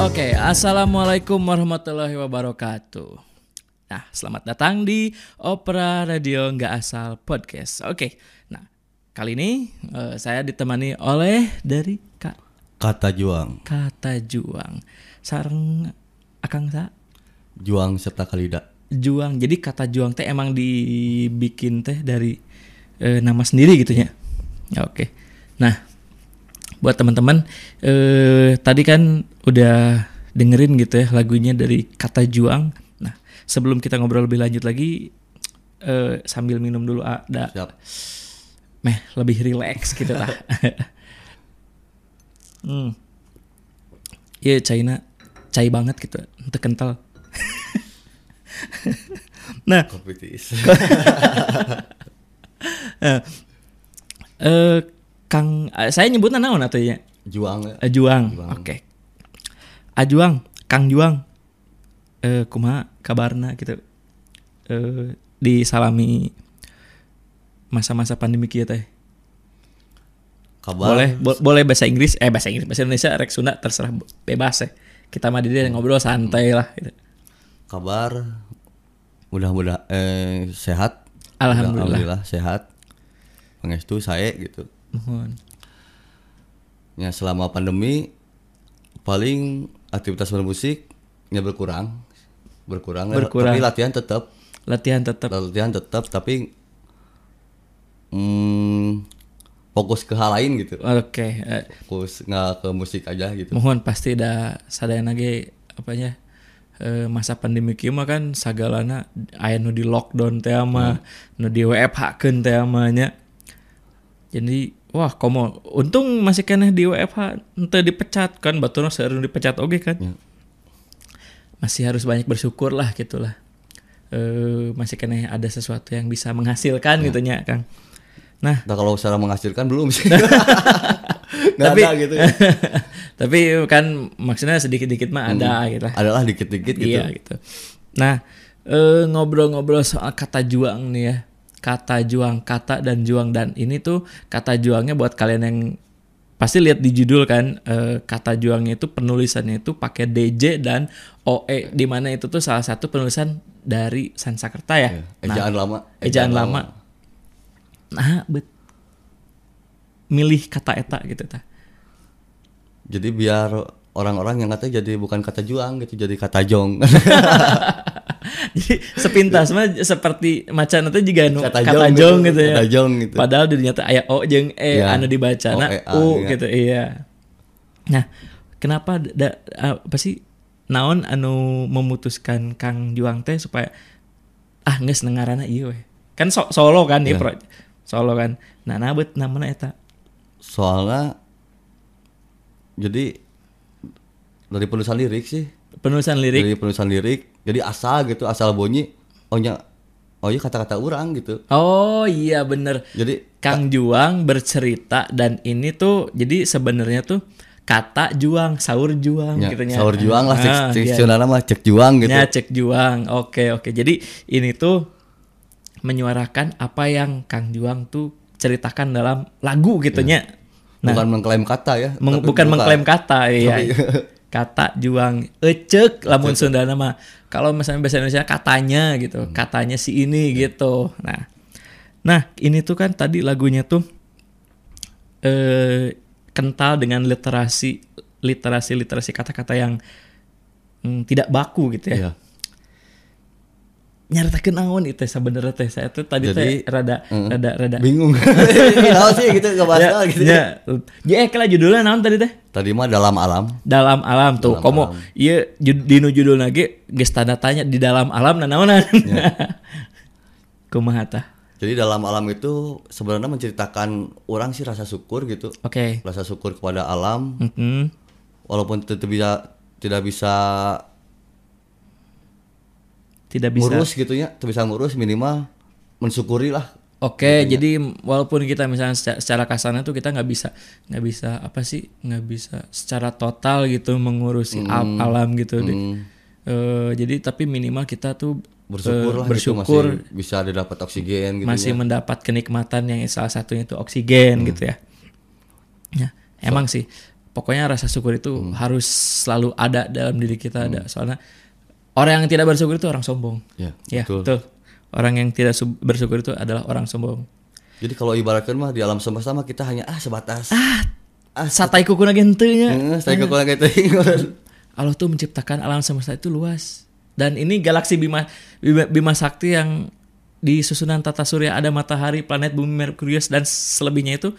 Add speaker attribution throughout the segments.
Speaker 1: Oke, assalamualaikum warahmatullahi wabarakatuh. Nah, selamat datang di Opera Radio Nggak Asal Podcast. Oke, nah kali ini eh, saya ditemani oleh dari Kak
Speaker 2: Kata juang,
Speaker 1: Kata Juang, sarang Akang Sa
Speaker 2: juang serta kalida.
Speaker 1: Juang. Jadi kata Juang teh emang dibikin teh dari eh, nama sendiri gitu ya. Ya, Oke. Nah, buat teman-teman eh tadi kan udah dengerin gitu ya lagunya dari kata Juang. Nah, sebelum kita ngobrol lebih lanjut lagi eh sambil minum dulu ada
Speaker 2: Siap.
Speaker 1: meh lebih relax gitu lah. hmm. Iya China, cai banget gitu, ente kental. nah,
Speaker 2: Kopi tiis.
Speaker 1: eh Kang, eh, saya nyebutnya naon atunya?
Speaker 2: juang ya.
Speaker 1: Ajuang.
Speaker 2: Juang.
Speaker 1: Oke. Ajuang, Kang Juang. Eh kumaha kabarna gitu. Eh disalami masa-masa pandemi kieu teh.
Speaker 2: Kabar.
Speaker 1: Boleh bo- boleh bahasa Inggris, eh bahasa Inggris, bahasa Indonesia, rek Sunda terserah be- bebas ya. Kita mah di dia ngobrol santai lah gitu.
Speaker 2: Kabar. Mudah-mudahan eh, sehat.
Speaker 1: Alhamdulillah.
Speaker 2: sehat. Pengestu saya gitu.
Speaker 1: Mohon.
Speaker 2: Ya selama pandemi paling aktivitas bermusik ya berkurang. Berkurang, ya.
Speaker 1: Berkurang.
Speaker 2: tapi latihan tetap.
Speaker 1: Latihan tetap
Speaker 2: Latihan tetap tapi hmm, fokus ke hal lain gitu.
Speaker 1: oke. eh,
Speaker 2: Fokus nggak ke musik aja gitu.
Speaker 1: mohon pasti da sadayana ge apanya eh, masa pandemi kieu mah kan sagalana aya nu di lockdown teh mah nu di WFH keun teh mah nya. Jadi wah komo untung masih keneh di WFH henteu dipecat kan baturna seueur nu dipecat oge kan.
Speaker 2: Ya.
Speaker 1: Masih harus banyak bersyukur lah gitulah. Eh masih keneh ada sesuatu yang bisa menghasilkan gitu nya Kang. Nah,
Speaker 2: Nah kalau secara menghasilkan belum sih. Nggak
Speaker 1: Tapi-
Speaker 2: ada gitu. ya.
Speaker 1: tapi kan maksudnya sedikit-dikit mah
Speaker 2: Hmm.
Speaker 1: ada gitu lah.
Speaker 2: Adalah dikit-dikit gitu.
Speaker 1: Iya gitu. Nah, eh, ngobrol-ngobrol soal kata juang nih ya. Kata juang, kata dan juang dan ini tuh kata juangnya buat kalian yang pasti lihat di judul kan eh, kata juangnya itu penulisannya itu pakai DJ dan OE di mana itu tuh salah satu penulisan dari Sansakerta ya. Nah,
Speaker 2: Iya. Ejaan lama.
Speaker 1: ejaan lama. Nah, bet milih kata eta gitu tah.
Speaker 2: Jadi biar orang-orang yang katanya jadi bukan kata juang gitu, jadi kata jong.
Speaker 1: Jadi sepintas mah seperti macan itu juga nu
Speaker 2: Iya. Kata
Speaker 1: kata,
Speaker 2: jong gitu,
Speaker 1: jong gitu ya.
Speaker 2: kata jong gitu.
Speaker 1: Padahal di nyata aya o jeung e
Speaker 2: Iya.
Speaker 1: anu dibaca
Speaker 2: O,
Speaker 1: na
Speaker 2: e, a,
Speaker 1: u
Speaker 2: iya.
Speaker 1: gitu iya. Nah, kenapa da, apa sih naon anu memutuskan Kang Juang teh supaya ah geus nengarana ieu we. Kan so- solo kan ieu
Speaker 2: Iya.
Speaker 1: pro- solo kan. Nah, nabeut namana eta?
Speaker 2: Soalnya jadi dari penulisan lirik sih,
Speaker 1: Penulisan lirik.
Speaker 2: dari penulisan lirik, jadi asal gitu, asal bunyi. Oh nya, oh iya kata-kata orang gitu.
Speaker 1: Oh iya bener.
Speaker 2: Jadi
Speaker 1: Kang Juang bercerita dan ini tuh jadi sebenarnya tuh kata Juang, sahur Juang
Speaker 2: ya,
Speaker 1: gitu nya.
Speaker 2: saur juang lah,
Speaker 1: Ah,
Speaker 2: cek, cek,
Speaker 1: iya.
Speaker 2: sionana mah cek juang gitu.
Speaker 1: Ya, cek Juang. Oke, oke. Jadi ini tuh menyuarakan apa yang Kang Juang tuh ceritakan dalam lagu gitu nya. Nah,
Speaker 2: bukan mengklaim kata ya.
Speaker 1: meng-
Speaker 2: tapi
Speaker 1: bukan
Speaker 2: bukan.
Speaker 1: mengklaim kata iya.
Speaker 2: Tapi-
Speaker 1: kata Juang ecek lamun Sunda nama. Kalau misalnya bahasa Indonesia katanya gitu, katanya si ini gitu. Nah. Nah, ini tuh kan tadi lagunya tuh eh kental dengan literasi literasi literasi kata-kata yang mm, tidak baku gitu ya.
Speaker 2: Iya.
Speaker 1: Nyaritakeun naon itu sebenarnya teh saya tuh tadi teh
Speaker 2: Jadi,
Speaker 1: rada rada rada
Speaker 2: bingung tahu sih gitu nggak bahas
Speaker 1: Ya,
Speaker 2: tahu gitu
Speaker 1: ya. Ya, eh, kela judulnya naon tadi teh?
Speaker 2: tadi mah dalam alam
Speaker 1: dalam alam tuh komo iya jud, dinu judul lagi geus tanda tanya di dalam alam nah naonan
Speaker 2: Ya.
Speaker 1: kumaha tah
Speaker 2: jadi dalam alam itu sebenarnya menceritakan orang sih rasa syukur gitu
Speaker 1: oke
Speaker 2: rasa syukur kepada alam
Speaker 1: Mhm.
Speaker 2: walaupun tidak bisa tidak bisa
Speaker 1: tidak bisa oke
Speaker 2: ngurus gitu ya tidak bisa ngurus minimal mensyukuri lah Iya.
Speaker 1: jadi walaupun kita misalnya secara, secara kasarnya tuh kita nggak bisa nggak bisa apa sih nggak bisa secara total gitu mengurusi
Speaker 2: Mm.
Speaker 1: al- alam gitu deh Eh, jadi tapi minimal kita tuh
Speaker 2: bersyukur
Speaker 1: eh,
Speaker 2: lah gitu,
Speaker 1: bersyukur
Speaker 2: masih bisa didapat oksigen gitu Hmm.
Speaker 1: masih mendapat kenikmatan yang salah satunya itu oksigen gitu ya. Ya, emang sih pokoknya rasa syukur itu
Speaker 2: Hmm.
Speaker 1: harus selalu ada dalam diri kita ada soalnya orang yang tidak bersyukur itu orang sombong
Speaker 2: Ya,
Speaker 1: ya
Speaker 2: betul.
Speaker 1: betul orang yang tidak su- bersyukur itu adalah orang sombong
Speaker 2: Jadi kalau ibaratkan mah di alam semesta mah kita hanya ah sebatas.
Speaker 1: satai kuku ya. lagi entunya
Speaker 2: Ah, Eh, saya kekurangan kayak teuing.
Speaker 1: Allah tuh menciptakan alam semesta itu luas dan ini galaksi bima bima, Bima sakti yang di susunan tata surya ada matahari planet bumi merkurius dan selebihnya itu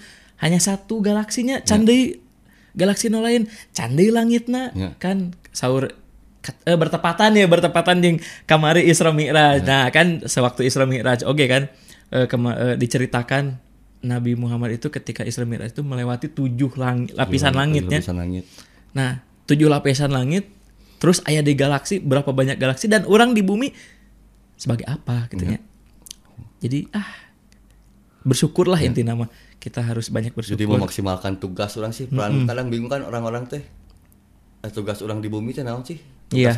Speaker 1: hanya satu galaksinya
Speaker 2: Ya.
Speaker 1: candai galaksi no lain candai langitna
Speaker 2: Ya.
Speaker 1: kan sahur kat- eh, bertepatan ya bertepatan yang kamari Isra Mi'raj. Nah,
Speaker 2: Ya.
Speaker 1: kan sewaktu Isra Mi'raj oke kan eh, kema- eh, diceritakan Nabi Muhammad itu ketika Isra Mi'raj itu melewati tujuh lang- lapisan langitnya.
Speaker 2: Lapisan langit.
Speaker 1: Nah, tujuh lapisan langit, terus ayah di galaksi, berapa banyak galaksi, dan orang di bumi sebagai apa gitu
Speaker 2: Iya.
Speaker 1: ya. Jadi, ah, bersyukurlah inti nama. Kita harus banyak
Speaker 2: Iya. Jadi
Speaker 1: bersyukur.
Speaker 2: memaksimalkan tugas orang sih. Peran kadang bingung kan orang-orang teh. Eh, Tugas orang di bumi teh naon sih? Tugas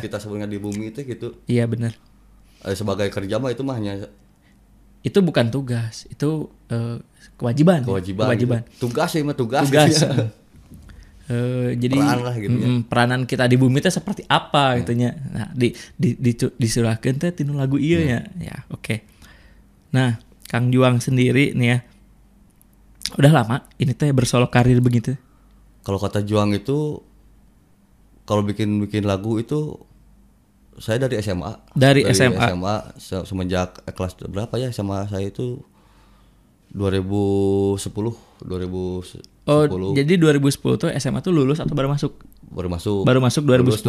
Speaker 1: Iya.
Speaker 2: kita sebenarnya di bumi teh gitu.
Speaker 1: Iya benar.
Speaker 2: Eh, sebagai kerja mah itu mah hanya
Speaker 1: Itu bukan tugas, itu eh, kewajiban. ya.
Speaker 2: kewajiban.
Speaker 1: Kewajiban.
Speaker 2: gitu. Tugas ya mah tugas.
Speaker 1: Tugas.
Speaker 2: gitu ya.
Speaker 1: Eh, jadi
Speaker 2: Peran lah gitu ya.
Speaker 1: mm-mm, peranan kita di bumi teh seperti apa gitu nya. Nah, di di, di disurahkeun teh tinu lagu ieu nya. Ya, oke. Nah, Kang Juang sendiri nih ya. Udah lama ini teh bersolok karir begitu.
Speaker 2: Kalau kata Juang itu kalau bikin-bikin lagu itu saya dari SMA.
Speaker 1: Dari SMA.
Speaker 2: se- semenjak eh, kelas berapa ya SMA saya itu 2010 2010
Speaker 1: Oh, jadi 2010 tuh SMA tuh lulus atau baru masuk?
Speaker 2: baru masuk.
Speaker 1: Baru masuk 2010.
Speaker 2: Lulus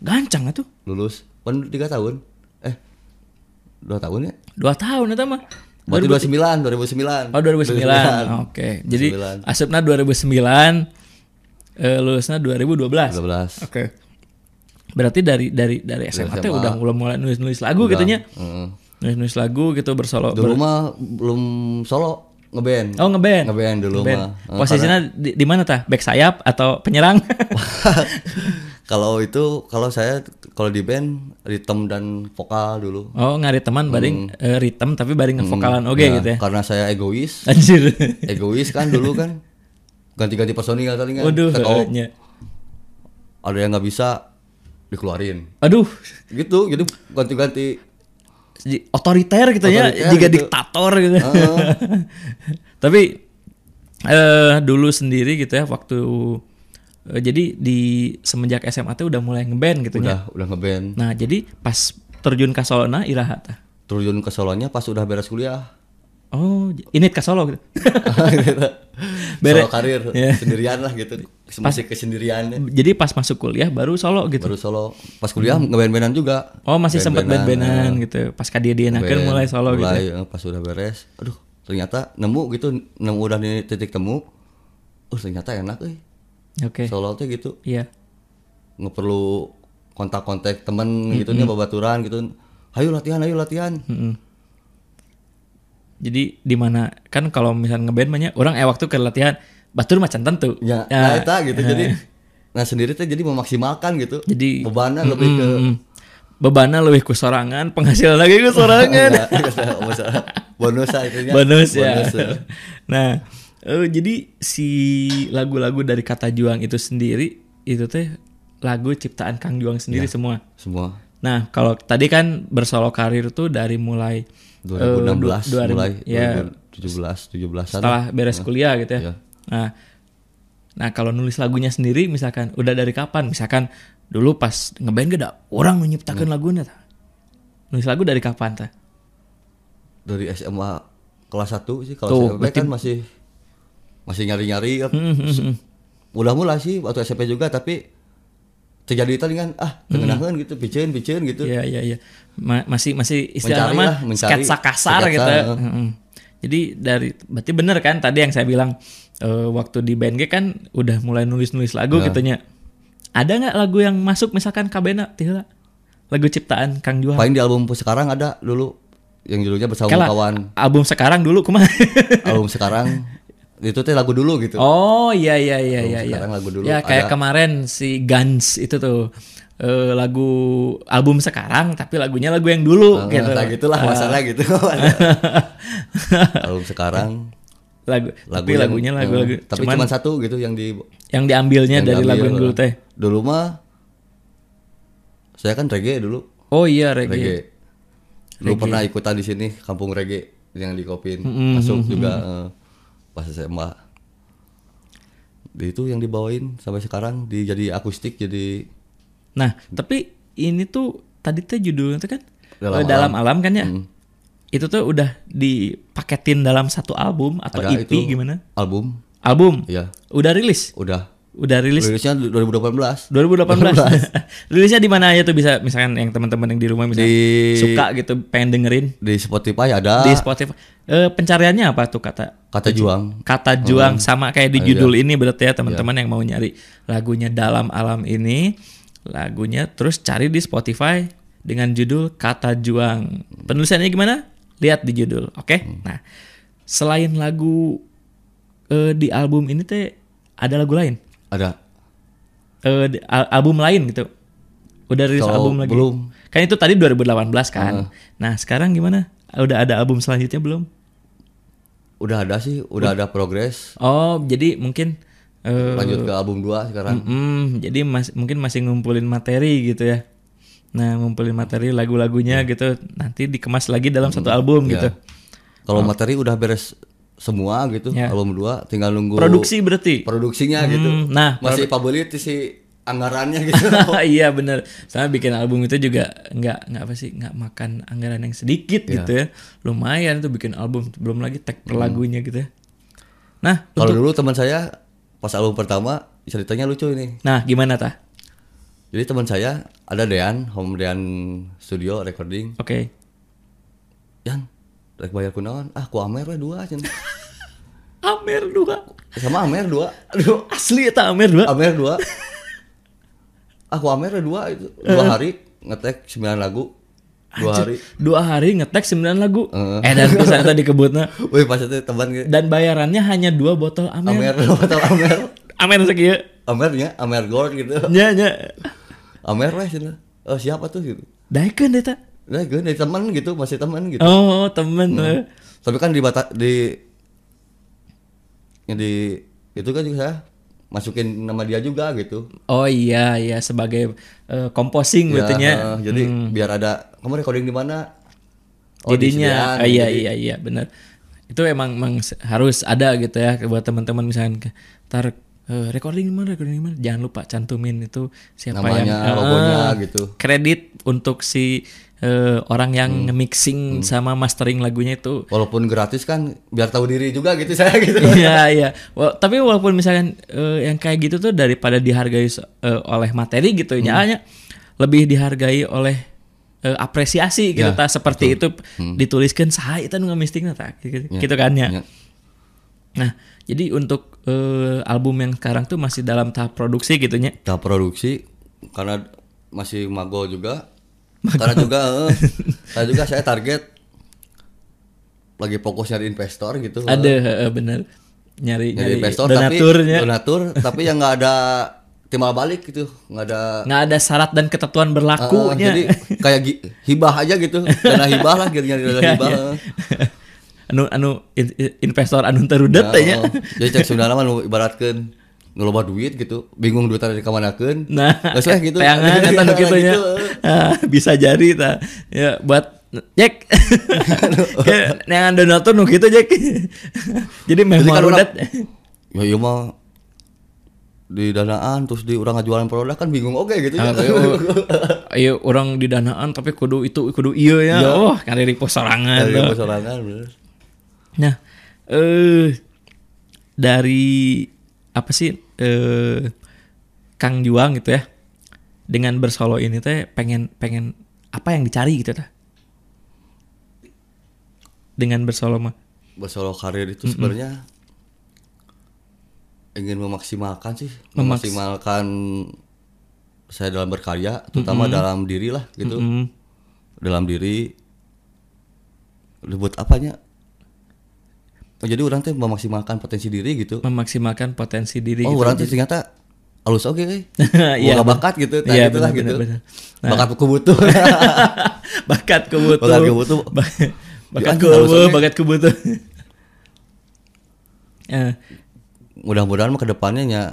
Speaker 2: 2012.
Speaker 1: Gancang atuh.
Speaker 2: lulus kan tiga tahun eh dua tahun ya
Speaker 1: Dua tahun eta mah.
Speaker 2: berarti dua sembilan dua ribu sembilan
Speaker 1: Oh 2009. Oke. Jadi
Speaker 2: 2009.
Speaker 1: asupna 2009 eh, lulusnya 2012.
Speaker 2: dua belas
Speaker 1: Oke. Berarti dari dari dari SMA, teh udah mulai mulai nulis nulis lagu gitu nya. Nulis nulis lagu gitu bersolo.
Speaker 2: dulu mah belum solo ngeband
Speaker 1: Oh ngeband.
Speaker 2: ngeband dulu
Speaker 1: Ngeband.
Speaker 2: mah Eh,
Speaker 1: Posisinya di, di mana tah? Back sayap atau penyerang?
Speaker 2: kalau itu kalau saya kalau di band ritme dan vokal dulu
Speaker 1: oh ngari teman baring eh,
Speaker 2: Hmm.
Speaker 1: ritem tapi baring ngevokalan oke
Speaker 2: Ya,
Speaker 1: gitu ya.
Speaker 2: karena saya egois
Speaker 1: Anjir.
Speaker 2: egois kan dulu kan ganti-ganti personil kali kan
Speaker 1: Waduh. iya. ya.
Speaker 2: Kalau
Speaker 1: nya.
Speaker 2: ada yang nggak bisa dikeluarin
Speaker 1: Aduh.
Speaker 2: gitu jadi ganti-ganti
Speaker 1: Di- Otoriter gitu ya,
Speaker 2: Otoriter
Speaker 1: jika
Speaker 2: gitu.
Speaker 1: diktator gitu. tapi eh dulu sendiri gitu ya waktu eh, jadi di semenjak SMA tuh udah mulai ngeband gitu ya.
Speaker 2: udah udah ngeband
Speaker 1: Nah, jadi pas terjun ke Solo nah iraha tah.
Speaker 2: terjun ke Solonya pas udah beres kuliah.
Speaker 1: Oh, j- init ke Solo gitu. Beres.
Speaker 2: Solo karir
Speaker 1: Iya.
Speaker 2: sendirian lah gitu. Masih kesendiriannya.
Speaker 1: jadi pas masuk kuliah baru Solo gitu.
Speaker 2: Baru solo. Pas kuliah ngeband-bandan juga.
Speaker 1: Oh, masih sempat
Speaker 2: Band-bandan,
Speaker 1: band-bandan gitu. Pas kadia dia
Speaker 2: Band,
Speaker 1: mulai Solo gitu.
Speaker 2: mulai, eh, Pas udah beres, aduh ternyata nemu gitu nemu udah di titik temu. Oh ternyata enak eh.
Speaker 1: Oke.
Speaker 2: Solo tuh gitu
Speaker 1: Iya.
Speaker 2: nggak perlu kontak-kontak temen gitu nya babaturan gitu. Ayo latihan, ayo latihan.
Speaker 1: Jadi di mana kan kalau misalnya ngeband banyak orang eh waktu ke latihan batur macan tentu.
Speaker 2: Ya, nah,
Speaker 1: Ya,
Speaker 2: eta gitu. Jadi nah sendiri tuh jadi memaksimalkan gitu.
Speaker 1: Jadi-
Speaker 2: bebannya lebih ke
Speaker 1: mm, bebannya lebih ku sorangan, penghasilan lagi ku sorangan.
Speaker 2: Enggak, enggak, Ya, oh, masalah. bonus lah itunya.
Speaker 1: bonus ya.
Speaker 2: Iya. Bonus, eh.
Speaker 1: nah, eh, jadi si lagu-lagu dari Kata Juang itu sendiri itu teh lagu ciptaan Kang Juang sendiri
Speaker 2: Iya.
Speaker 1: semua.
Speaker 2: Semua
Speaker 1: Nah, kalau tadi kan bersolo karir tuh dari mulai
Speaker 2: 2016
Speaker 1: Eh, du- 2000,
Speaker 2: mulai
Speaker 1: ya.
Speaker 2: 2017 17 an
Speaker 1: setelah beres kuliah gitu ya.
Speaker 2: Iya.
Speaker 1: Nah, nah kalau nulis lagunya sendiri misalkan udah dari kapan? Misalkan dulu pas ngeband gak ada orang menciptakan
Speaker 2: Iya.
Speaker 1: lagunya tah. Nulis lagu dari kapan tah?
Speaker 2: dari SMA kelas 1 sih
Speaker 1: Tuh, Hmm.
Speaker 2: kalau SMP kan masih masih nyari-nyari kan. Udah mulai sih waktu SMP juga tapi terjadi itu kan ah
Speaker 1: Hmm.
Speaker 2: tengenahan gitu piceun piceun gitu.
Speaker 1: Iya iya iya. Ma- masih masih istilah
Speaker 2: Mencari
Speaker 1: nama
Speaker 2: lah, mencari.
Speaker 1: sketsa kasar
Speaker 2: Sketsa,
Speaker 1: gitu.
Speaker 2: heeh.
Speaker 1: Heeh. Jadi dari berarti bener kan tadi yang saya bilang eh, waktu di BNG kan udah mulai nulis-nulis lagu
Speaker 2: Iya.
Speaker 1: gitu nya. Ada nggak lagu yang masuk misalkan Kabena Tihla? Lagu ciptaan Kang Juha.
Speaker 2: Paling di album sekarang ada dulu yang judulnya bersama
Speaker 1: Kela,
Speaker 2: kawan
Speaker 1: album sekarang dulu kumaha?
Speaker 2: album sekarang itu teh lagu dulu gitu.
Speaker 1: oh iya iya iya iya. iya.
Speaker 2: sekarang lagu dulu
Speaker 1: ya kayak
Speaker 2: ada.
Speaker 1: kemarin si Guns itu tuh eh, lagu album sekarang tapi lagunya lagu yang dulu
Speaker 2: Nah,
Speaker 1: gitu.
Speaker 2: nah, gitulah masalah gitu. Album sekarang
Speaker 1: lagu, tapi
Speaker 2: yang-
Speaker 1: lagunya lagu-lagu
Speaker 2: eh, tapi
Speaker 1: cuman,
Speaker 2: cuman satu gitu yang di
Speaker 1: yang diambilnya
Speaker 2: yang
Speaker 1: dari
Speaker 2: diambil gitu
Speaker 1: lagu yang dulu
Speaker 2: lah.
Speaker 1: teh
Speaker 2: Dulu mah saya kan reggae dulu,
Speaker 1: oh iya reggae,
Speaker 2: reggae. Dulu pernah ikutan di sini kampung reggae yang di Kopin, masuk juga eh, pas SMA. Di itu yang dibawain sampai sekarang di jadi akustik jadi
Speaker 1: nah tapi ini tuh tadi teh judulnya tuh kan eh,
Speaker 2: Dalam Hmm.
Speaker 1: dalam, alam. kan ya itu tuh udah dipaketin dalam satu album atau
Speaker 2: ada
Speaker 1: EP
Speaker 2: itu
Speaker 1: gimana
Speaker 2: album.
Speaker 1: album
Speaker 2: Iya,
Speaker 1: udah rilis
Speaker 2: udah.
Speaker 1: udah rilis
Speaker 2: Rilisnya 2018
Speaker 1: 2018. Rilisnya di mana aja tuh bisa misalkan yang teman-teman yang di rumah misalnya
Speaker 2: Di- Ah.
Speaker 1: suka gitu pengen dengerin
Speaker 2: di Spotify ada
Speaker 1: di Spotify. Eh, pencariannya apa tuh kata
Speaker 2: kata juang.
Speaker 1: kata juang sama kayak di judul ini berarti ya teman-teman yang mau nyari lagunya dalam alam ini lagunya terus cari di Spotify dengan judul kata juang. Penulisannya gimana? Lihat di judul, oke? Nah, selain lagu eh, di album ini teh ada lagu lain?
Speaker 2: Ada.
Speaker 1: eh, di- al- album lain gitu. Udah rilis
Speaker 2: Kalau
Speaker 1: album lagi.
Speaker 2: belum.
Speaker 1: Kan itu tadi 2018 kan. Nah, sekarang gimana? Udah ada album selanjutnya belum?
Speaker 2: Udah ada sih, udah ada progres.
Speaker 1: Oh, jadi mungkin eh
Speaker 2: Lanjut ke album 2 sekarang.
Speaker 1: mm, jadi mas- mungkin masih ngumpulin materi gitu ya. Nah, ngumpulin materi lagu-lagunya gitu. Nanti dikemas lagi dalam satu album gitu.
Speaker 2: Kalau materi udah beres semua gitu,
Speaker 1: Ya.
Speaker 2: album 2 tinggal nunggu
Speaker 1: Produksi berarti.
Speaker 2: produksinya gitu.
Speaker 1: Hmm, nah,
Speaker 2: Masih pabelit si anggarannya gitu.
Speaker 1: iya bener Sama bikin album itu juga nggak nggak apa sih nggak makan anggaran yang sedikit gitu ya. Lumayan tuh bikin album belum lagi tag per lagunya gitu ya. Nah,
Speaker 2: Kalau dulu teman saya pas album pertama ceritanya lucu ini.
Speaker 1: nah gimana tah?
Speaker 2: Jadi teman saya ada Dean, Home Dean Studio Recording.
Speaker 1: Oke.
Speaker 2: Yan, rek bayar kunaon? Ah, ku Amer we dua cen.
Speaker 1: Amer 2.
Speaker 2: Sama Amer dua. Aduh,
Speaker 1: Asli eta Amer 2.
Speaker 2: Amer dua. Aku Amer we dua itu
Speaker 1: Eh.
Speaker 2: dua hari ngetek 9 lagu. Dua hari.
Speaker 1: Dua hari ngetek 9 lagu. Eh dan pisan eta dikebutna
Speaker 2: Wih, pas itu teman ge-
Speaker 1: dan bayarannya hanya dua botol Amer.
Speaker 2: Amer, atau Amer,
Speaker 1: Amer sakieu.
Speaker 2: Amernya, Amer Gold gitu.
Speaker 1: Nya nya.
Speaker 2: Amer weh sini. Oh, siapa tuh gitu.
Speaker 1: Daekeun eta.
Speaker 2: Nah, gue dari teman gitu, masih teman gitu.
Speaker 1: Oh, temen. eh.
Speaker 2: Tapi kan di bata, di yang di itu kan juga saya masukin nama dia juga gitu.
Speaker 1: Oh iya iya sebagai eh, composing
Speaker 2: Ya,
Speaker 1: berarti nya.
Speaker 2: eh, jadi biar ada kamu recording di mana?
Speaker 1: hmm.
Speaker 2: Oh, di
Speaker 1: jadinya
Speaker 2: Sian.
Speaker 1: ah, iya iya iya benar itu emang, emang se- harus ada gitu ya buat teman-teman misalnya ke- tar eh, recording di mana recording di mana jangan lupa cantumin itu siapa
Speaker 2: namanya,
Speaker 1: yang
Speaker 2: logonya
Speaker 1: Ah,
Speaker 2: gitu.
Speaker 1: kredit untuk si eh, orang yang
Speaker 2: Hmm.
Speaker 1: mixing sama mastering lagunya itu
Speaker 2: Walaupun gratis kan biar tahu diri juga gitu saya gitu.
Speaker 1: Iya iya. Wa- tapi walaupun misalkan eh, yang kayak gitu tuh daripada dihargai so- eh, oleh materi gitu
Speaker 2: Hmm.
Speaker 1: ya, hanya lebih dihargai oleh eh, apresiasi
Speaker 2: Ya,
Speaker 1: gitu tah. seperti itu dituliskan saha eta nu ngamistingna tah gitu, gitu kan ya.
Speaker 2: Hmm. Ya.
Speaker 1: Nah, jadi untuk eh, album yang sekarang tuh masih dalam tahap produksi gitu nya.
Speaker 2: Tahap produksi karena masih magol juga. Karena juga eh, karena juga saya target lagi fokus nyari investor gitu.
Speaker 1: Ada heeh, bener nyari
Speaker 2: Nyari
Speaker 1: nyari,
Speaker 2: investor tapi
Speaker 1: donaturnya.
Speaker 2: donatur tapi yang nggak ada timbal balik gitu, nggak ada
Speaker 1: nggak ada syarat dan ketentuan
Speaker 2: eh,
Speaker 1: berlakunya.
Speaker 2: jadi kayak gi- hibah aja gitu. Dana hibah lah gitu nyari dana
Speaker 1: Iya,
Speaker 2: hibah.
Speaker 1: iya.
Speaker 2: eh.
Speaker 1: anu anu in- in- investor anu terudet
Speaker 2: Nah,
Speaker 1: teh nya.
Speaker 2: oh. Jadi cek sebenarnya mah nu ibaratkeun ngeloba duit gitu, bingung duit tadi kamanakeun.
Speaker 1: Nah,
Speaker 2: Geus weh gitu.
Speaker 1: Tayangan eta nu kitu nya. Ah, bisa jadi ta. Ya buat Jack. Ya, Neangan donatur nu kitu Jack. Jadi
Speaker 2: Jadi kan
Speaker 1: memang
Speaker 2: orang,
Speaker 1: rudet.
Speaker 2: ya iya mah di danaan terus di orang ngajualan produk kan bingung oke gitu
Speaker 1: Ah,
Speaker 2: ya.
Speaker 1: oh. Nah, Ayo iya, orang didanaan tapi kudu itu kudu ieu ya.
Speaker 2: Iya.
Speaker 1: Wah, kali repost sorangan.
Speaker 2: Dari
Speaker 1: tuh.
Speaker 2: masyarakat, bener.
Speaker 1: Nah, eh dari apa sih eh Kang Juang gitu ya. Dengan bersolo ini teh pengen pengen apa yang dicari gitu dah. Dengan bersolo mah.
Speaker 2: Bersolo karir itu sebenarnya ingin memaksimalkan sih,
Speaker 1: Memaks-
Speaker 2: memaksimalkan saya dalam berkarya, terutama dalam diri lah gitu.
Speaker 1: Mm.
Speaker 2: Dalam diri buat apanya? Oh, Jadi orang teh memaksimalkan potensi diri gitu.
Speaker 1: Memaksimalkan potensi diri
Speaker 2: Oh,
Speaker 1: gitu.
Speaker 2: orang tuh ternyata halus oke euy.
Speaker 1: Iya,
Speaker 2: Boga bakat gitu, tah
Speaker 1: Iya,
Speaker 2: gitu lah
Speaker 1: benar,
Speaker 2: gitu.
Speaker 1: benar, Nah. benar.
Speaker 2: Bakat ku butuh.
Speaker 1: bakat kebutuh.
Speaker 2: Bakat kebutuh. Iya,
Speaker 1: Ba- bakat
Speaker 2: Anjing, harus
Speaker 1: kebutuh,
Speaker 2: oke.
Speaker 1: bakat kebutuh. Eh,
Speaker 2: mudah-mudahan mah kedepannya ya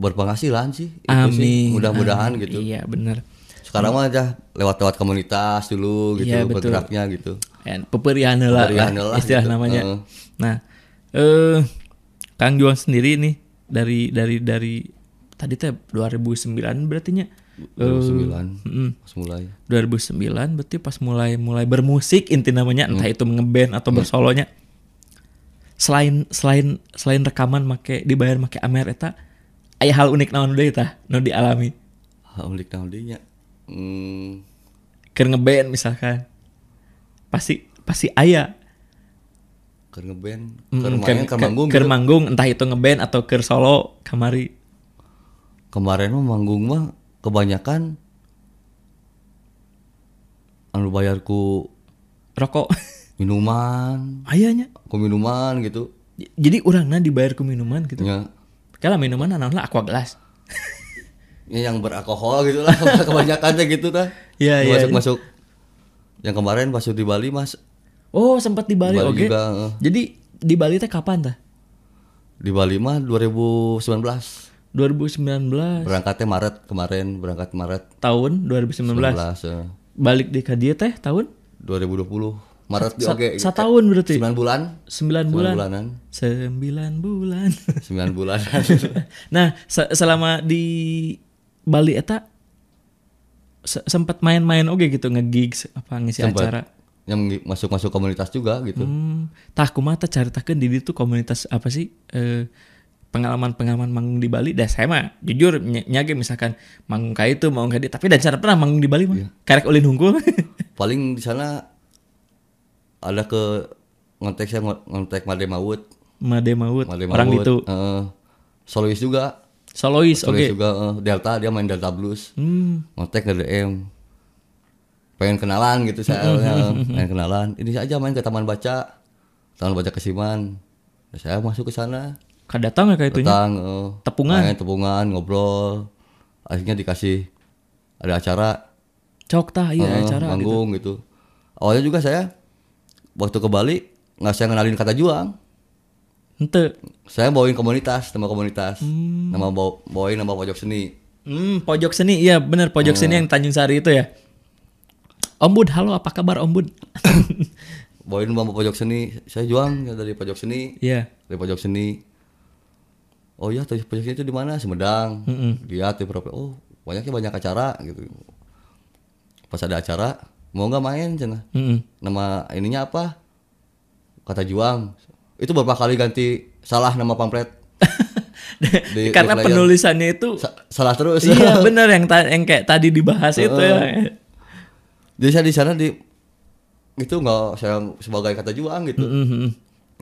Speaker 2: berpenghasilan sih itu sih
Speaker 1: amin.
Speaker 2: mudah-mudahan
Speaker 1: Amin.
Speaker 2: gitu
Speaker 1: Iya bener.
Speaker 2: sekarang mah aja lewat-lewat komunitas dulu gitu
Speaker 1: Iya, betul.
Speaker 2: bergeraknya gitu
Speaker 1: And Ya, peperihan lah,
Speaker 2: Peperihan
Speaker 1: lah
Speaker 2: lah
Speaker 1: istilah
Speaker 2: gitu.
Speaker 1: namanya.
Speaker 2: Heeh.
Speaker 1: Nah, eh Kang Juang sendiri nih dari dari dari tadi teh 2009 berarti nya. Eh,
Speaker 2: 2009 pas mulai
Speaker 1: 2009 berarti pas mulai mulai bermusik inti namanya
Speaker 2: Hmm.
Speaker 1: entah itu ngeband atau bersolonya. Selain selain selain rekaman make dibayar make amer eta aya hal unik naon deui tah nu dialami?
Speaker 2: Alhamdulillah alhamdulillahnya. hmm,
Speaker 1: Keur ngeband misalkan. Pasti pasti aya
Speaker 2: ke ngeband ke
Speaker 1: Mm,
Speaker 2: rumahnya
Speaker 1: keur-
Speaker 2: ke
Speaker 1: keur-
Speaker 2: manggung
Speaker 1: keur
Speaker 2: gitu.
Speaker 1: manggung, entah itu ngeband atau ke solo kamari
Speaker 2: kemarin mah manggung mah kebanyakan anu bayarku
Speaker 1: rokok
Speaker 2: minuman
Speaker 1: ayahnya
Speaker 2: ku minuman gitu
Speaker 1: J- jadi orangnya dibayar ke minuman gitu
Speaker 2: ya,
Speaker 1: kalau minuman anak lah aqua gelas
Speaker 2: ya yang beralkohol gitu lah kebanyakannya gitu kan
Speaker 1: Iya, iya,
Speaker 2: masuk
Speaker 1: iya.
Speaker 2: masuk yang kemarin pas di Bali mas
Speaker 1: oh sempat di Bali
Speaker 2: Bali
Speaker 1: oke
Speaker 2: juga, heeh.
Speaker 1: jadi di Bali teh kapan tah
Speaker 2: di Bali mah 2019
Speaker 1: 2019
Speaker 2: berangkatnya Maret kemarin berangkat Maret
Speaker 1: tahun 2019
Speaker 2: 19 eh,
Speaker 1: balik di Kadia teh tahun
Speaker 2: 2020 Maret di
Speaker 1: Sa-
Speaker 2: oke gitu.
Speaker 1: satahun berarti
Speaker 2: 9 bulan
Speaker 1: 9
Speaker 2: 9
Speaker 1: bulan
Speaker 2: bulanan
Speaker 1: 9 bulan
Speaker 2: 9 bulanan
Speaker 1: nah se- selama di Bali eta se- sempat main-main oke gitu nge-gigs apa ngisi
Speaker 2: Sempat.
Speaker 1: acara
Speaker 2: yang masuk-masuk komunitas juga gitu
Speaker 1: Hmm, tah kumaha tah caritakeun di dieu tuh komunitas apa sih eh, pengalaman-pengalaman manggung di Bali dah saya mah jujur ny- nya ge misalkan manggung ka itu manggung ka dieu, tapi dan cara pernah manggung di Bali mah
Speaker 2: Iya.
Speaker 1: karek ulin hungkul
Speaker 2: paling di sana ada ke ngontek saya ngo- ngontek Made Mawut
Speaker 1: made maut
Speaker 2: Made
Speaker 1: orang
Speaker 2: Mawut,
Speaker 1: itu
Speaker 2: eh, solois juga
Speaker 1: solois oke
Speaker 2: solois juga eh, Delta dia main Delta Blues
Speaker 1: Hmm,
Speaker 2: ngontek ke DM pengen kenalan gitu saya eh, pengen kenalan ini aja main ke taman baca taman baca kesiman Terus saya masuk ke sana
Speaker 1: kadatang ya ka itunya
Speaker 2: datang eh,
Speaker 1: Tepungan.
Speaker 2: main tepungan ngobrol akhirnya dikasih ada acara
Speaker 1: cok tah iya
Speaker 2: Heeh,
Speaker 1: acara gitu
Speaker 2: manggung gitu. Awalnya juga saya waktu ke Bali nggak saya kenalin kata juang.
Speaker 1: henteu
Speaker 2: Saya bawain komunitas, nama komunitas, nama baw- bawain nama pojok seni.
Speaker 1: hmm, pojok seni iya bener pojok
Speaker 2: Hmm.
Speaker 1: seni yang Tanjung Sari itu ya Om Bud, halo apa kabar Om Bud?
Speaker 2: Bawain nama pojok seni. Saya juang ya, dari pojok seni,
Speaker 1: Iya.
Speaker 2: dari pojok seni. Oh iya, tuh pojok seni itu di mana? Sumedang. Lihat di profil. Oh, banyaknya banyak acara gitu. Pas ada acara, mau nggak main cenah?
Speaker 1: Mm-mm.
Speaker 2: nama ininya apa kata juang itu berapa kali ganti salah nama pamflet Di- di
Speaker 1: Karena
Speaker 2: flyer.
Speaker 1: penulisannya itu
Speaker 2: Sa- salah terus
Speaker 1: iya bener yang ta- yang kayak tadi dibahas itu ya.
Speaker 2: jadi saya di sana di itu nggak saya sebagai kata juang gitu
Speaker 1: Mhm,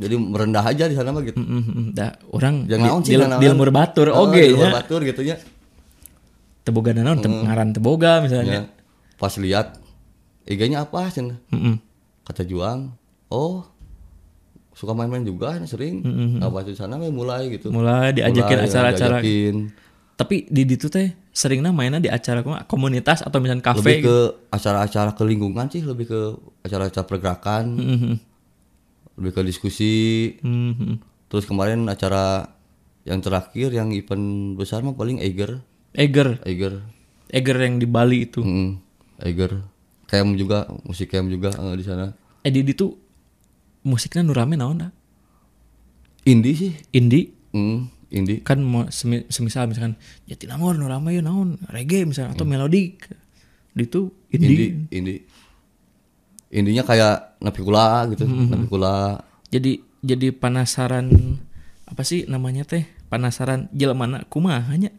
Speaker 2: jadi merendah aja di sana mah gitu
Speaker 1: mhm, mhm. Dah, orang di,
Speaker 2: Jangan naon sih,
Speaker 1: di,
Speaker 2: jangan
Speaker 1: di
Speaker 2: naon.
Speaker 1: lembur batur
Speaker 2: Eh,
Speaker 1: oke
Speaker 2: di lembur
Speaker 1: ya.
Speaker 2: batur gitu nya.
Speaker 1: Teboga naon te- ngaran teboga
Speaker 2: Ya.
Speaker 1: misalnya.
Speaker 2: pas lihat IG-nya apa cenah?
Speaker 1: Mhm.
Speaker 2: kata juang oh suka main-main juga sering apa di sana we mulai gitu
Speaker 1: Mm-hmm, Mulai diajakin
Speaker 2: Mulai,
Speaker 1: acara-acara.
Speaker 2: diajakin.
Speaker 1: Tapi di itu teh seringnya mainnya di acara kumaha, komunitas atau misalnya
Speaker 2: lebih
Speaker 1: kafe gitu.
Speaker 2: ke acara-acara ke lingkungan sih lebih ke acara-acara pergerakan
Speaker 1: Mhm,
Speaker 2: lebih ke diskusi
Speaker 1: mhm.
Speaker 2: terus kemarin acara yang terakhir yang event besar mah paling Eiger
Speaker 1: Eger,
Speaker 2: Eiger
Speaker 1: Eger yang di Bali itu.
Speaker 2: Mm, Eiger camp juga musik camp juga eh, di sana
Speaker 1: Eh di itu musiknya nu rame naon dah.
Speaker 2: indie sih
Speaker 1: Indie
Speaker 2: Mm, indie
Speaker 1: kan mau semi- semisal misalkan Jatinangor nu rame ya naon, reggae misalnya atau melodik. Di itu indie.
Speaker 2: indie indie indinya kayak napikula gitu napikula
Speaker 1: jadi jadi penasaran apa sih namanya teh penasaran jelema kumahanya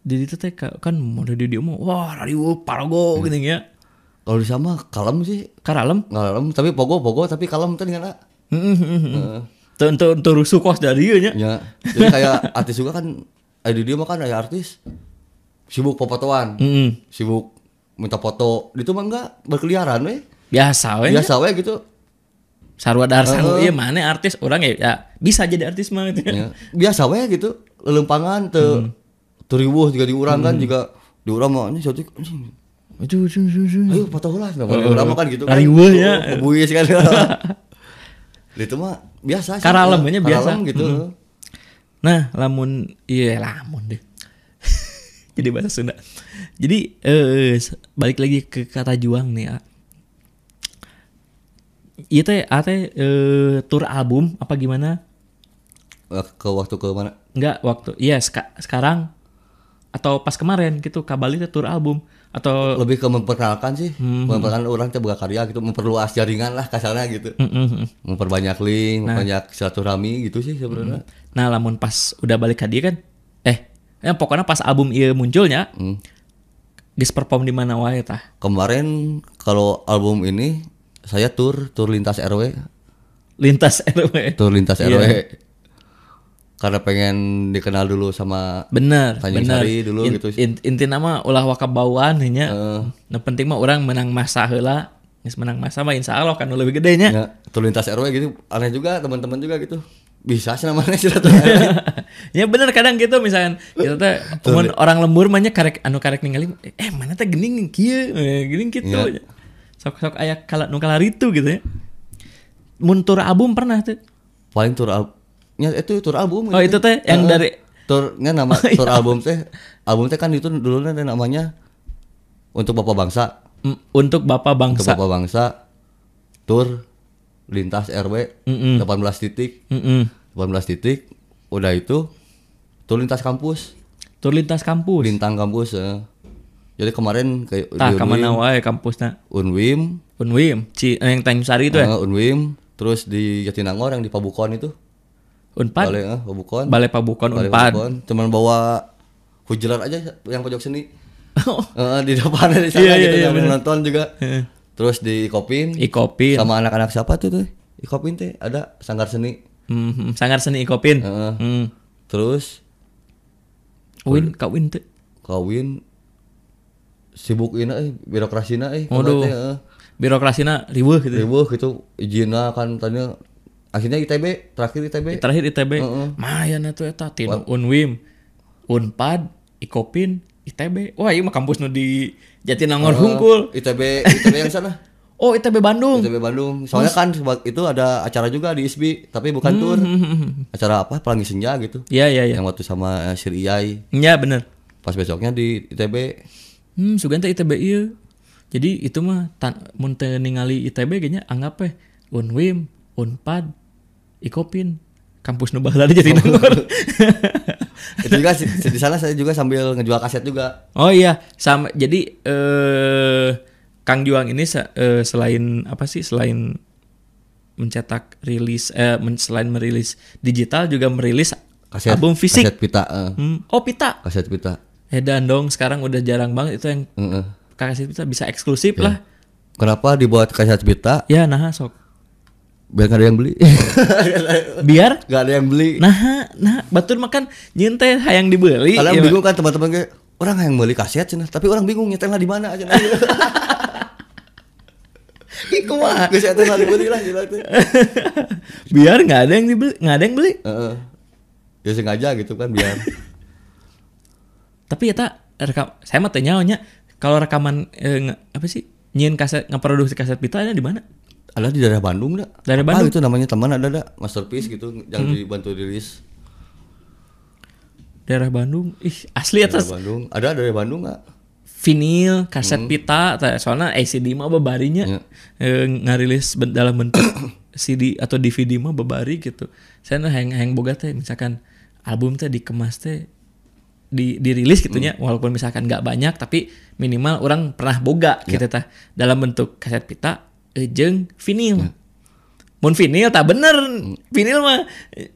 Speaker 1: jadi itu teh ka- kan mode di dia mau wah radio parago gini ya
Speaker 2: kalau di sana mah kalem sih
Speaker 1: karalem
Speaker 2: nggak kalem tapi pogo pogo tapi kalem tadi kan Heeh.
Speaker 1: tuh tuh tuh rusuh kos dari dia nya
Speaker 2: Ya, jadi kayak artis juga kan, eh di dia mah kan kayak artis sibuk popotoan,
Speaker 1: Mm-mm.
Speaker 2: sibuk minta foto, itu mah enggak berkeliaran weh.
Speaker 1: biasa we
Speaker 2: Biasa weh gitu.
Speaker 1: sarwa darsan iya mana artis orang ya, ya bisa jadi artis mah gitu
Speaker 2: Ya. Biasa weh gitu. Lelempangan te teriwuh juga diurang kan juga diurang mah ini suatu anjing,
Speaker 1: Aduh, aduh, aduh, aduh.
Speaker 2: gitu ayo foto lah, nah, diurang mah kan gitu kan.
Speaker 1: Riweuh ya.
Speaker 2: Kebuis kan. Itu mah biasa sih.
Speaker 1: Karalem aja biasa.
Speaker 2: Karalem gitu.
Speaker 1: Nah, lamun iya lamun deh. Jadi bahasa Sunda. Jadi eh s- balik lagi ke kata juang nih, A. Iya teh, A teh eh, tur album apa gimana?
Speaker 2: Ke waktu ke mana?
Speaker 1: Enggak waktu. Iya, seka- sekarang atau pas kemarin gitu kabali teh tur album atau
Speaker 2: Lebih ke memperkenalkan sih. Memperkenalkan orang teh buka karya gitu, memperluas jaringan lah kasarnya gitu.
Speaker 1: Mm, mm, mm.
Speaker 2: Memperbanyak link, memperbanyak silaturahmi gitu sih sebenarnya.
Speaker 1: Nah, lamun pas udah balik ke dia kan eh ya pokoknya pas album ieu munculnya
Speaker 2: Hmm.
Speaker 1: geus perform di mana wae tah.
Speaker 2: Kemarin kalau album ini saya tur tur lintas RW,
Speaker 1: Lintas RW.
Speaker 2: tur lintas
Speaker 1: Iya.
Speaker 2: RW. Karena pengen dikenal dulu sama
Speaker 1: Bener,
Speaker 2: Tanjung
Speaker 1: bener.
Speaker 2: Sari dulu gitu sih.
Speaker 1: in- inti nama ulah wakabauan nya.
Speaker 2: Eh.
Speaker 1: Nah penting mah orang menang masa heula. Geus menang masa mah insya Allah kan nu lebih gedenya.
Speaker 2: ya, tur lintas RW gitu. Aneh juga teman-teman juga gitu. Bisa sih namanya silaturahmi.
Speaker 1: ya bener kadang gitu misalkan kita teh mun orang lembur mah nya karek anu karek ningali eh mana teh gening kieu eh, gening gitu.
Speaker 2: Iya.
Speaker 1: Sok-sok aya kala nu kalaritu gitu ya. Mun tur album pernah tuh.
Speaker 2: Paling tur al- nya itu tur album. gitu.
Speaker 1: Oh, itu teh yang
Speaker 2: Heeh.
Speaker 1: dari- Oh, iya.
Speaker 2: tur nya ya, nama tur album teh. Album teh kan itu dulunya teh namanya untuk Bapak Bangsa.
Speaker 1: Mm, Untuk Bapak
Speaker 2: Untuk
Speaker 1: Bangsa.
Speaker 2: Bapak Bangsa tur lintas RW
Speaker 1: Hmm.
Speaker 2: 18 titik.
Speaker 1: Mm-mm.
Speaker 2: 18 titik udah itu tur lintas kampus,
Speaker 1: Tur lintas kampus.
Speaker 2: lintang kampus. eh. Jadi kemarin ke
Speaker 1: Tah
Speaker 2: di
Speaker 1: ka mana wae kampusna.
Speaker 2: Unwim,
Speaker 1: Unwim, Ci, eh, yang Tanjung Sari itu ya.
Speaker 2: eh, Unwim, terus di Jatinangor yang di Pabukon itu.
Speaker 1: Unpad.
Speaker 2: Balai, eh, Pabukon.
Speaker 1: Balai Pabukon
Speaker 2: Balai
Speaker 1: Unpad.
Speaker 2: Pabukon. Cuman bawa hujelar aja yang pojok seni.
Speaker 1: Oh,
Speaker 2: Eh, di depan di sana
Speaker 1: Iya, iya,
Speaker 2: gitu
Speaker 1: iya,
Speaker 2: yang
Speaker 1: bener.
Speaker 2: nonton juga.
Speaker 1: Heeh.
Speaker 2: Terus di Ikopin
Speaker 1: Ikopin.
Speaker 2: sama anak-anak siapa tuh tuh? Ikopin teh ada sanggar seni.
Speaker 1: Mhm, Sanggar Seni Ikopin.
Speaker 2: Heeh.
Speaker 1: Hmm.
Speaker 2: Terus
Speaker 1: Win, kak Win tuh.
Speaker 2: kawin sibuk ini eh birokrasina eh
Speaker 1: Waduh.
Speaker 2: kabarnya, eh.
Speaker 1: Birokrasinya riweuh gitu.
Speaker 2: ribuh gitu izinna kan tanya akhirnya ITB terakhir ITB
Speaker 1: Terakhir ITB.
Speaker 2: Heeh.
Speaker 1: Mayana tuh eta tinu Unwim, Unpad, Ikopin, ITB. Wah, ieu mah kampus nu di
Speaker 2: Eh,
Speaker 1: Jatinangor Hungkul.
Speaker 2: ITB ITB yang sana
Speaker 1: Oh, ITB Bandung.
Speaker 2: ITB Bandung soalnya kan seba- itu ada acara juga di ISBI tapi bukan tur acara apa pelangi senja gitu
Speaker 1: Iya, iya, iya.
Speaker 2: yang waktu sama eh, Sir Iyai
Speaker 1: Iya, bener.
Speaker 2: pas besoknya di ITB
Speaker 1: Hmm, sugan teh ITB ieu. Jadi itu mah tan mun teu ningali ITB ge nya anggap we Unwim, Unpad, Ikopin, kampus nu baheula jadi nangor.
Speaker 2: itu juga si- di sana saya juga sambil ngejual kaset juga
Speaker 1: oh iya, sama jadi eh Kang Juang ini se- eh, selain apa sih selain mencetak rilis eh men- selain merilis digital juga merilis
Speaker 2: kaset
Speaker 1: album fisik.
Speaker 2: kaset pita eh.
Speaker 1: Hmm, oh pita.
Speaker 2: kaset pita
Speaker 1: Edan dong sekarang udah jarang banget itu yang
Speaker 2: Heeh.
Speaker 1: kaset pita bisa eksklusif lah.
Speaker 2: kenapa dibuat kaset pita
Speaker 1: Ya nah sok.
Speaker 2: biar gak ada yang beli
Speaker 1: Biar
Speaker 2: gak ada yang beli
Speaker 1: nah nah batur makan nyente hayang dibeli
Speaker 2: Kalian
Speaker 1: Iya,
Speaker 2: bingung kan teman-teman gue, orang yang beli kaset cenah, tapi orang bingung nyetelnya di mana aja. Nah, gitu. Iku mah geus eta mah dibeli lah gitu. gila teh.
Speaker 1: biar nggak ada yang dibeli nggak ada yang beli
Speaker 2: Heeh. Ya sengaja gitu kan biar
Speaker 1: tapi ya tak rekam saya mah tanya kalau rekaman eh, nge- apa sih nyin kaset ngeproduksi kaset pita ada di mana
Speaker 2: ada di daerah Bandung dah.
Speaker 1: Daerah
Speaker 2: Apa
Speaker 1: Bandung? Hmm.
Speaker 2: gitu namanya teman ada dah masterpiece gitu yang dibantu rilis
Speaker 1: daerah Bandung ih asli
Speaker 2: daerah
Speaker 1: atas
Speaker 2: Bandung. Ada dari Bandung nggak?
Speaker 1: vinil kaset pita tah. soalnya ACD mah bebarinya
Speaker 2: Iya.
Speaker 1: eh, ngarilis ben- dalam bentuk CD atau DVD mah bebari gitu saya nah hayang hayang boga teh misalkan album teh dikemas teh di dirilis gitunya walaupun misalkan nggak banyak tapi minimal orang pernah boga gitu tah dalam bentuk kaset pita eh, jeung vinil Mun vinil tak bener. Vinil mah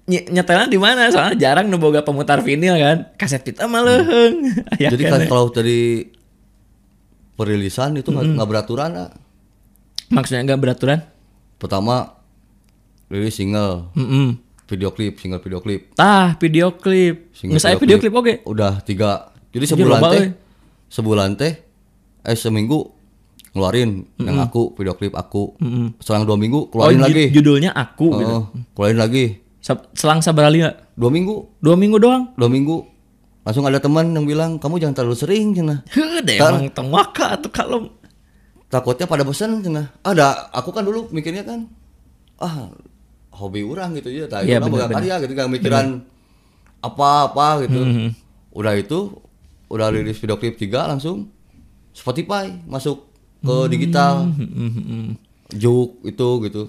Speaker 1: ny- nyetelna di mana? Soalnya jarang nu boga pemutar vinil kan. Kaset pita mah Ya leuheung. Aya
Speaker 2: Jadi kan
Speaker 1: keneh.
Speaker 2: kalau dari perilisan itu
Speaker 1: Hmm.
Speaker 2: nggak nggak beraturan lah.
Speaker 1: Maksudnya nggak beraturan?
Speaker 2: Pertama rilis single,
Speaker 1: Mm-mm.
Speaker 2: video klip, single video klip.
Speaker 1: Tah, video klip.
Speaker 2: Single
Speaker 1: Nggak saya video klip oke.
Speaker 2: udah tiga jadi
Speaker 1: Jadi
Speaker 2: sebulan
Speaker 1: loba euy.
Speaker 2: teh sebulan teh eh seminggu ngeluarin yang aku video klip aku selang dua minggu
Speaker 1: Oh,
Speaker 2: keluarin
Speaker 1: ju-
Speaker 2: lagi Oh.
Speaker 1: judulnya aku gitu.
Speaker 2: Heeh, keluarin lagi
Speaker 1: Sa- Selang sabarali
Speaker 2: dua minggu
Speaker 1: Dua minggu doang.
Speaker 2: dua minggu langsung ada teman yang bilang kamu jangan terlalu sering cina
Speaker 1: Heuh, deh
Speaker 2: Tar-
Speaker 1: emang temaka atau kalau
Speaker 2: takutnya pada bosan cina ada aku kan dulu mikirnya kan ah hobi orang gitu ya tapi
Speaker 1: Iya,
Speaker 2: orang
Speaker 1: bener,
Speaker 2: bakal karya gitu gak mikiran apa-apa gitu
Speaker 1: Hmm,
Speaker 2: udah itu udah rilis video klip 3 langsung Spotify masuk ke
Speaker 1: Hmm.
Speaker 2: digital
Speaker 1: Mm, mm, mm.
Speaker 2: Juk itu gitu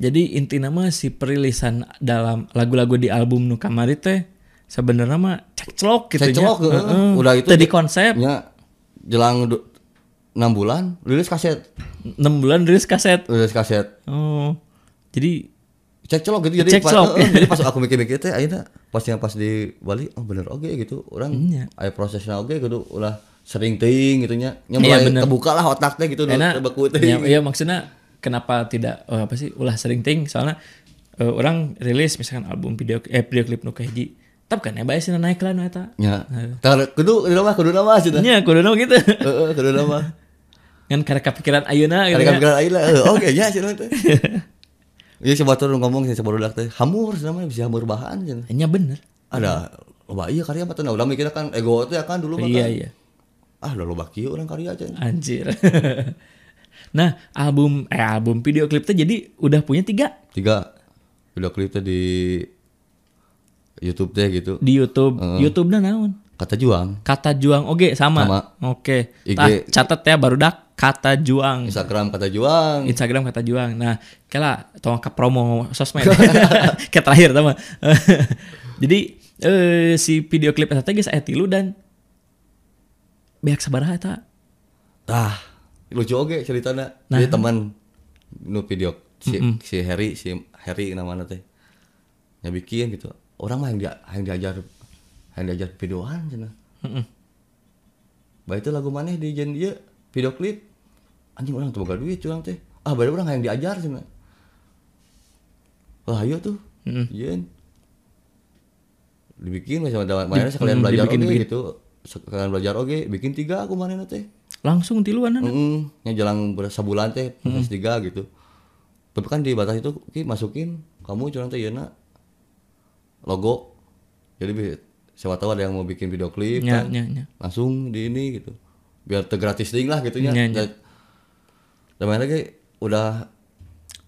Speaker 1: Jadi inti nama si perilisan dalam lagu-lagu di album nu kamari teh sebenarnya mah cekclok gitu
Speaker 2: Cekclok,
Speaker 1: nya.
Speaker 2: heeh.
Speaker 1: Heeh.
Speaker 2: Udah gitu itu
Speaker 1: Tadi
Speaker 2: di-
Speaker 1: konsep
Speaker 2: ya jelang 6 bulan rilis kaset
Speaker 1: 6 bulan rilis kaset.
Speaker 2: rilis kaset
Speaker 1: Oh. Jadi
Speaker 2: cek celok gitu jadi pas,
Speaker 1: Cekclok.
Speaker 2: eh, eh, jadi pas aku mikir-mikir teh akhirnya pas yang pas di Bali oh bener oke gitu orang
Speaker 1: Iya.
Speaker 2: aya prosesnya oke gitu ulah sering ting gitu nya nya
Speaker 1: Iya,
Speaker 2: mulai
Speaker 1: bener.
Speaker 2: kebuka lah otak teh gitu
Speaker 1: enak.
Speaker 2: nu beku teh
Speaker 1: Ya, ya, maksudnya kenapa tidak eh, apa sih ulah sering ting soalnya eh, orang rilis misalkan album video eh video klip nu kahiji. Tapi kan ya bae sih naik lah nu eta.
Speaker 2: nya tar kudu kudu lama kudu lama sih teh
Speaker 1: Nya kudu nu gitu.
Speaker 2: Heeh, kudu lama
Speaker 1: Kan karena kepikiran ayeuna gitu.
Speaker 2: karena
Speaker 1: nya.
Speaker 2: kan ayeuna eh, oke nya sih teh ya coba tuh ngomong sih coba udah teh hamur namanya bisa hamur bahan cenah.
Speaker 1: Eh, Nya bener.
Speaker 2: ada loba iya karya mah teh nah, ulah mikirnya kan ego teh kan dulu mah
Speaker 1: Iya
Speaker 2: kan.
Speaker 1: iya.
Speaker 2: ah udah loba kieu orang karya aja
Speaker 1: Anjir. nah, album eh album video klipnya jadi udah punya tiga
Speaker 2: tiga video klip teh di YouTube teh gitu
Speaker 1: di YouTube. YouTube na naon?
Speaker 2: kata juang
Speaker 1: Kata Juang oge sama.
Speaker 2: Sama.
Speaker 1: Oke.
Speaker 2: IG.
Speaker 1: Tah, catet ya baru dak Kata Juang.
Speaker 2: Instagram kata juang
Speaker 1: Instagram Kata Juang. Nah, kela tolong ke promo sosmed. Kayak terakhir teman. jadi eh, si video klip eta teh geus aya tilu dan beak sabaraha eta?
Speaker 2: ah lucu oke ceritanya jadi teman nu video si, si Harry si Harry namanya teh yang bikin gitu orang mah yang dia yang diajar yang diajar videoan cina
Speaker 1: Heeh.
Speaker 2: baik itu lagu maneh di jen dia video klip anjing orang tuh boga duit curang teh ah baru orang yang diajar cina wah ayo tuh
Speaker 1: Mm.
Speaker 2: jen dibikin sama dalam mana sekalian
Speaker 1: mm,
Speaker 2: belajar oke
Speaker 1: dibikin- bikin.
Speaker 2: gitu sekalian belajar oke bikin tiga aku maneh teh
Speaker 1: Langsung tiluan anu.
Speaker 2: Oh,
Speaker 1: anak.
Speaker 2: Mm-mm, yang jelang ber- sebulan teh proses tiga gitu. Tapi kan di batas itu ki masukin kamu curang teh yeuna logo. Jadi bi- siapa tahu ada yang mau bikin video klip
Speaker 1: Nya,
Speaker 2: kan.
Speaker 1: nya, nya.
Speaker 2: Langsung di ini gitu. Biar tergratis ting lah gitu nya.
Speaker 1: Nya, nya.
Speaker 2: Dan dan mana ge udah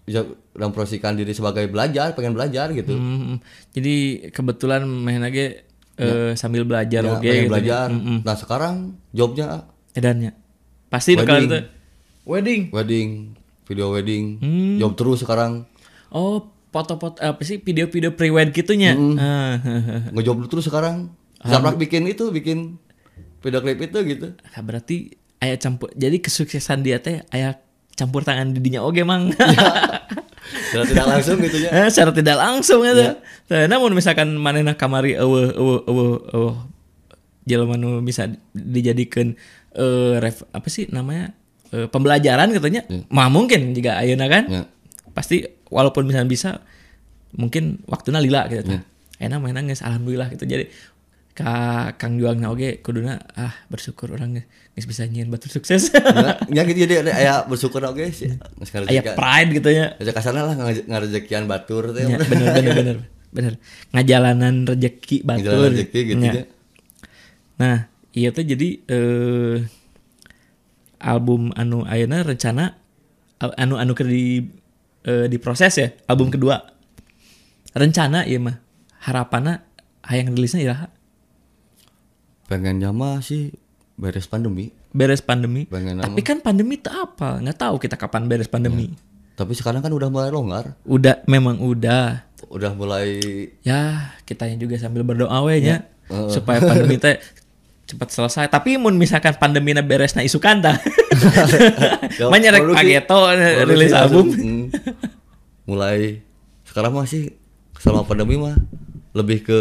Speaker 2: bisa udah memprosikan diri sebagai belajar, pengen belajar gitu.
Speaker 1: Mm, mm. Jadi kebetulan main lagi eh, sambil belajar
Speaker 2: Ya,
Speaker 1: oke
Speaker 2: pengen
Speaker 1: gitu.
Speaker 2: belajar. Nah, sekarang jobnya
Speaker 1: Edannya. Pasti nu kalau
Speaker 2: Wedding.
Speaker 1: itu wedding.
Speaker 2: wedding, video wedding.
Speaker 1: Hmm.
Speaker 2: Job terus sekarang.
Speaker 1: Oh, foto-foto apa sih video-video pre-wed gitunya. Ah,
Speaker 2: ngejob lu terus sekarang Zaprak bikin itu bikin video klip itu gitu
Speaker 1: Nah, berarti ayah campur. Jadi kesuksesan dia teh ayah campur tangan didinya oge mang.
Speaker 2: tidak tidak langsung gitu ya
Speaker 1: Eh, secara tidak langsung itu. Tah, namun misalkan manehna kamari eueuh eueuh eueuh eueuh jelema nu bisa dijadikan eh ref, apa sih namanya? eh, pembelajaran katanya. Mah mungkin jika ayeuna kan.
Speaker 2: Ya.
Speaker 1: Pasti walaupun misalnya bisa mungkin waktunya lila gitu tah. Enak main nangis alhamdulillah gitu. Jadi ka Kang Juang na oge kuduna ah bersyukur orang geus- geus bisa nyian batu sukses.
Speaker 2: Nah, ya gitu jadi ada ya bersyukur oke sih
Speaker 1: Aya
Speaker 2: sekarang
Speaker 1: pride gitu ya.
Speaker 2: kasarnya lah nge- ngarejekian batur teh
Speaker 1: Ya, bener bener bener bener ngajalanan rejeki
Speaker 2: jalan
Speaker 1: batur
Speaker 2: rezeki gitu
Speaker 1: Ya.
Speaker 2: ya
Speaker 1: nah iya tuh jadi eh, album anu ayeuna rencana al- anu anu ke di eh, diproses ya album kedua rencana iya mah harapana hayang rilisnya iraha
Speaker 2: pengen nyama sih beres pandemi
Speaker 1: beres pandemi
Speaker 2: Pengen
Speaker 1: tapi kan pandemi tak apa nggak tahu kita kapan beres pandemi
Speaker 2: tapi sekarang kan udah mulai longgar
Speaker 1: udah memang udah
Speaker 2: udah mulai
Speaker 1: ya kitanya juga sambil berdoa we nya
Speaker 2: Ya.
Speaker 1: supaya pandemi teh cepat selesai tapi mun misalkan pandemi na beres na isukan tah
Speaker 2: Ya,
Speaker 1: menyerek
Speaker 2: produksi-
Speaker 1: pageto eh,
Speaker 2: produksi
Speaker 1: rilis
Speaker 2: langsung,
Speaker 1: album
Speaker 2: mm. mulai sekarang masih selama pandemi mah lebih ke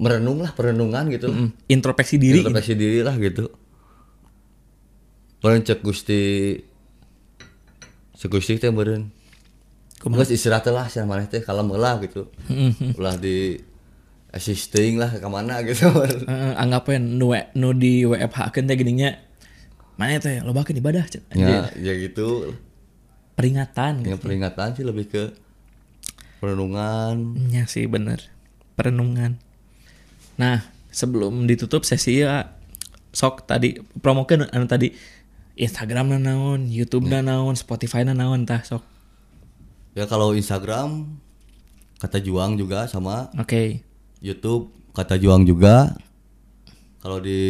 Speaker 2: merenung lah perenungan gitu lah.
Speaker 1: Mm, introspeksi diri
Speaker 2: introspeksi diri lah gitu Meren cek gusti cek gusti teh meren Terus istirahat lah sih mana teh kalau lah gitu ulah di assisting lah ke mana gitu meureun.
Speaker 1: Eh, anggap we nu, we- nu di WFH kan teh gininya mana ya teh lo bahkan ibadah cen.
Speaker 2: ya ya gitu
Speaker 1: peringatan gitu.
Speaker 2: yang peringatan sih lebih ke perenungan
Speaker 1: Ya sih bener Perenungan Nah sebelum ditutup sesi ya Sok tadi promokan anu Hmm. tadi Instagram na naon Youtube na naon Spotify na naon Tah sok
Speaker 2: ya kalau Instagram kata juang juga sama
Speaker 1: Oke.
Speaker 2: YouTube kata juang juga kalau di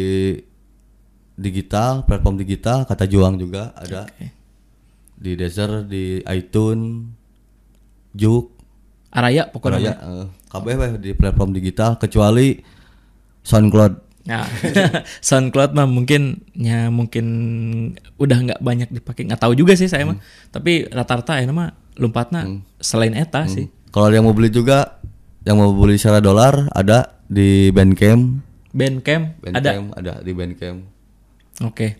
Speaker 2: digital platform digital kata juang juga ada
Speaker 1: Oke.
Speaker 2: di Deezer di iTunes Juk
Speaker 1: Araya pokoknya.
Speaker 2: Korea eh, kabeh weh di platform digital kecuali SoundCloud
Speaker 1: Nah, SoundCloud mah mungkin ya mungkin udah nggak banyak dipakai. Nggak tahu juga sih saya mah. Tapi rata-rata ya mah lompatnya selain eta sih.
Speaker 2: kalau ada yang mau beli juga yang mau beli secara dolar ada di Bandcamp
Speaker 1: Bandcamp, ada.
Speaker 2: Bandcamp ada, di Bandcamp
Speaker 1: Oke.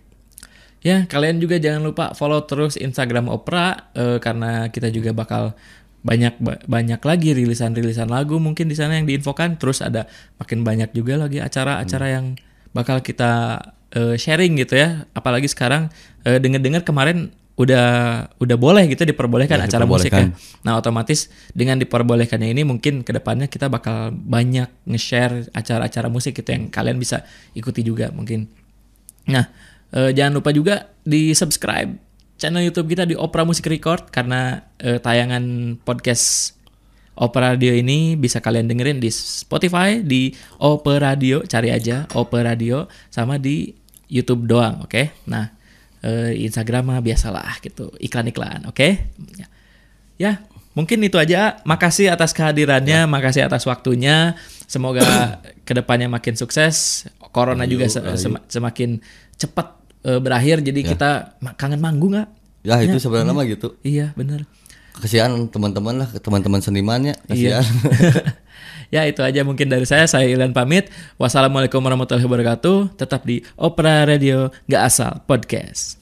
Speaker 1: Ya, kalian juga jangan lupa follow terus Instagram Opera eh, karena kita juga bakal banyak ba- banyak lagi rilisan-rilisan lagu mungkin di sana yang diinfokan terus ada makin banyak juga lagi acara-acara yang bakal kita eh, sharing gitu ya. Apalagi sekarang eh, dengar-dengar kemarin udah udah boleh gitu diperbolehkan acara musik ya. Nah, otomatis dengan diperbolehkannya ini mungkin kedepannya kita bakal banyak nge-share acara-acara musik gitu yang kalian bisa ikuti juga mungkin. Nah, eh, jangan lupa juga di subscribe channel YouTube kita di Opera Music Record karena eh, tayangan podcast Opera Radio ini bisa kalian dengerin di Spotify, di Opera Radio, cari aja Opera Radio sama di YouTube doang, oke? Nah, eh, Instagram mah biasalah gitu, iklan-iklan, oke? Ya. Ya, mungkin itu aja. Makasih atas kehadirannya, makasih atas waktunya. Semoga kedepannya makin sukses. Corona juga se- sem- semakin cepat eh, berakhir. Jadi kita ma- kangen manggung nggak?
Speaker 2: ya itu sebenarnya mah gitu
Speaker 1: Iya, bener.
Speaker 2: kasihan teman-teman lah teman-teman senimannya kasihan
Speaker 1: Iya. ya itu aja mungkin dari saya. Saya Ilan pamit. Wassalamualaikum warahmatullahi wabarakatuh. Tetap di Opera Radio nggak asal podcast.